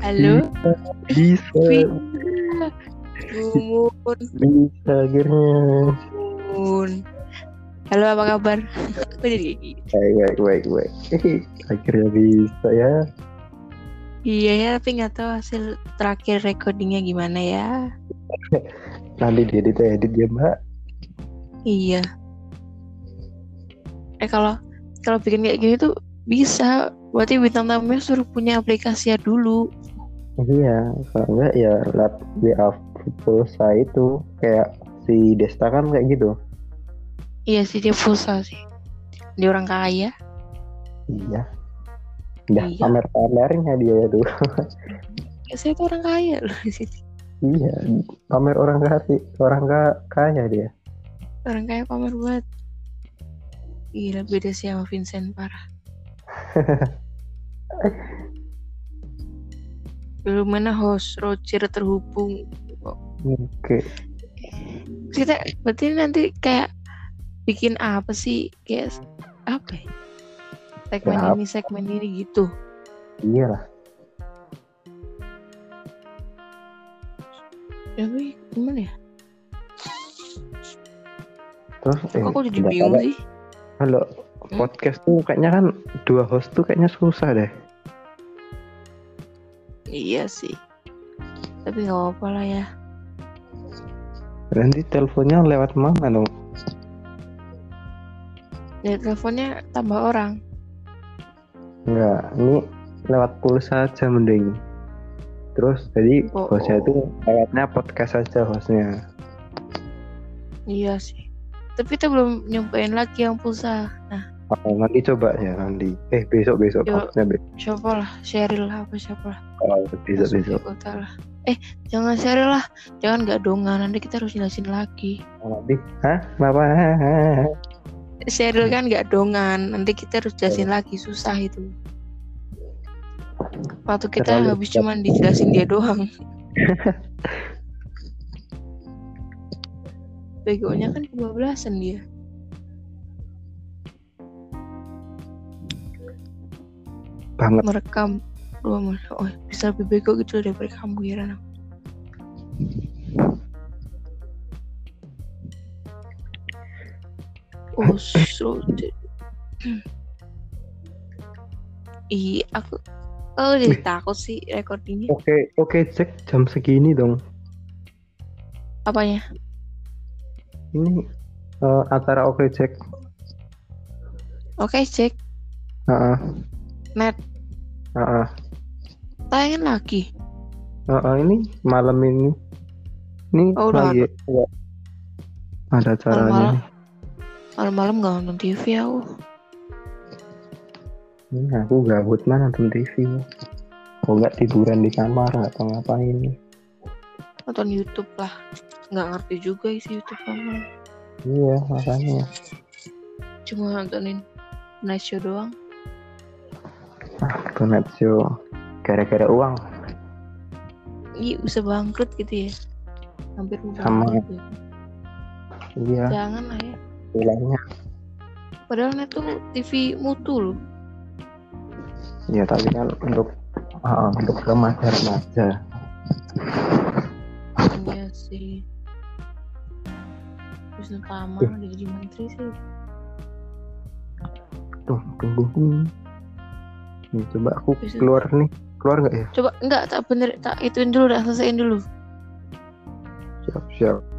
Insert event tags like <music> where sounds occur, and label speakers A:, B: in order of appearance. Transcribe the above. A: Halo?
B: Bisa,
A: Gumun.
B: bisa akhirnya.
A: Gumun. Halo, apa kabar? Aku jadi kayak gitu. gini.
B: Baik, baik, baik, baik. <laughs> Hehe, Akhirnya bisa ya.
A: Iya ya, tapi nggak tahu hasil terakhir recordingnya gimana ya.
B: Nanti diedit edit ya mbak.
A: Iya. Eh kalau kalau bikin kayak gini tuh bisa. Berarti bintang tamunya suruh punya aplikasinya dulu.
B: Iya, kalau enggak ya lab di pulsa itu kayak si Desta kan kayak gitu.
A: Iya sih dia pulsa sih. Dia orang kaya.
B: Iya. Udah
A: Iya.
B: pamer-pamernya dia itu. <laughs>
A: Ya, saya tuh orang kaya loh di sini.
B: iya, pamer orang kaya, orang ka- kaya dia.
A: Orang kaya pamer banget. Gila beda sih sama Vincent parah. Dulu mana host Roger terhubung.
B: Oke.
A: Kita berarti nanti kayak bikin apa sih? Kayak s- apa? ya? Segmen
B: Ya,
A: ini segmen ini gitu.
B: Iya lah.
A: Tapi gimana ya?
B: Terus eh,
A: Aku jadi
B: nggak
A: bingung
B: tahu,
A: sih. Hmm?
B: Kalau podcast tuh kayaknya kan dua host tuh kayaknya susah deh.
A: Iya sih. Tapi gak apa-apa lah ya.
B: Nanti teleponnya lewat mana dong?
A: Dari teleponnya tambah orang.
B: Enggak, ini lewat pulsa aja mending. Terus jadi
A: Oh, oh.
B: hostnya itu lewatnya podcast aja hostnya.
A: Iya sih. Tapi kita belum nyobain lagi yang pulsa.
B: Oh, nanti coba ya nanti. Eh besok besok
A: Yuk.
B: hostnya besok.
A: siapa lah Cheryl lah apa siapa lah
B: Oh, besok
A: Masuk
B: besok.
A: di kota lah eh jangan Cheryl lah jangan gak dongan nanti kita harus jelasin lagi
B: Oh, nanti, hah? Kenapa? <laughs>
A: Cheryl kan gak dongan nanti kita harus jelasin lagi susah itu waktu kita
B: Terlalu
A: habis
B: cepat.
A: cuman dijelasin dia doang begonya kan 12-an dia
B: Banget.
A: merekam dua menit. oh bisa lebih bego gitu daripada kamu heran aku. Oh, so de- <clears throat> Ih, aku aku jadi takut sih recordingnya.
B: Oke oke cek jam segini dong.
A: Apanya?
B: Ini eh, acara oke cek.
A: Oke, cek.
B: Heeh.
A: Net.
B: Heeh.
A: Tayangin lagi.
B: Heeh, ini malam ini. Ini
A: Oh, udah Oh,
B: lagi ada acaranya.
A: Malam-malam. Malam-malam gak nonton TV aku.
B: Hmm, aku gabut mana nonton TV Kok nggak tiduran di kamar nggak tahu ngapain
A: Nonton YouTube lah. Nggak ngerti juga isi YouTube kamu.
B: Iya makanya
A: Cuma nontonin Night Show doang.
B: ah, Donat show Gara-gara uang
A: Iya bisa bangkrut gitu ya hampir mau
B: Sama.
A: bangkrut ya.
B: Iya
A: jangan lah ya
B: pulangnya
A: padahal net tuh TV mutu loh
B: Ya tapi kan untuk ah, Untuk remaja-remaja
A: iya sih Terus Tama udah jadi menteri sih
B: Tuh tunggu Nih coba aku
A: Bisa.
B: keluar nih Keluar nggak ya
A: Coba enggak tak bener Tak ituin dulu Tak selesaiin dulu
B: Siap siap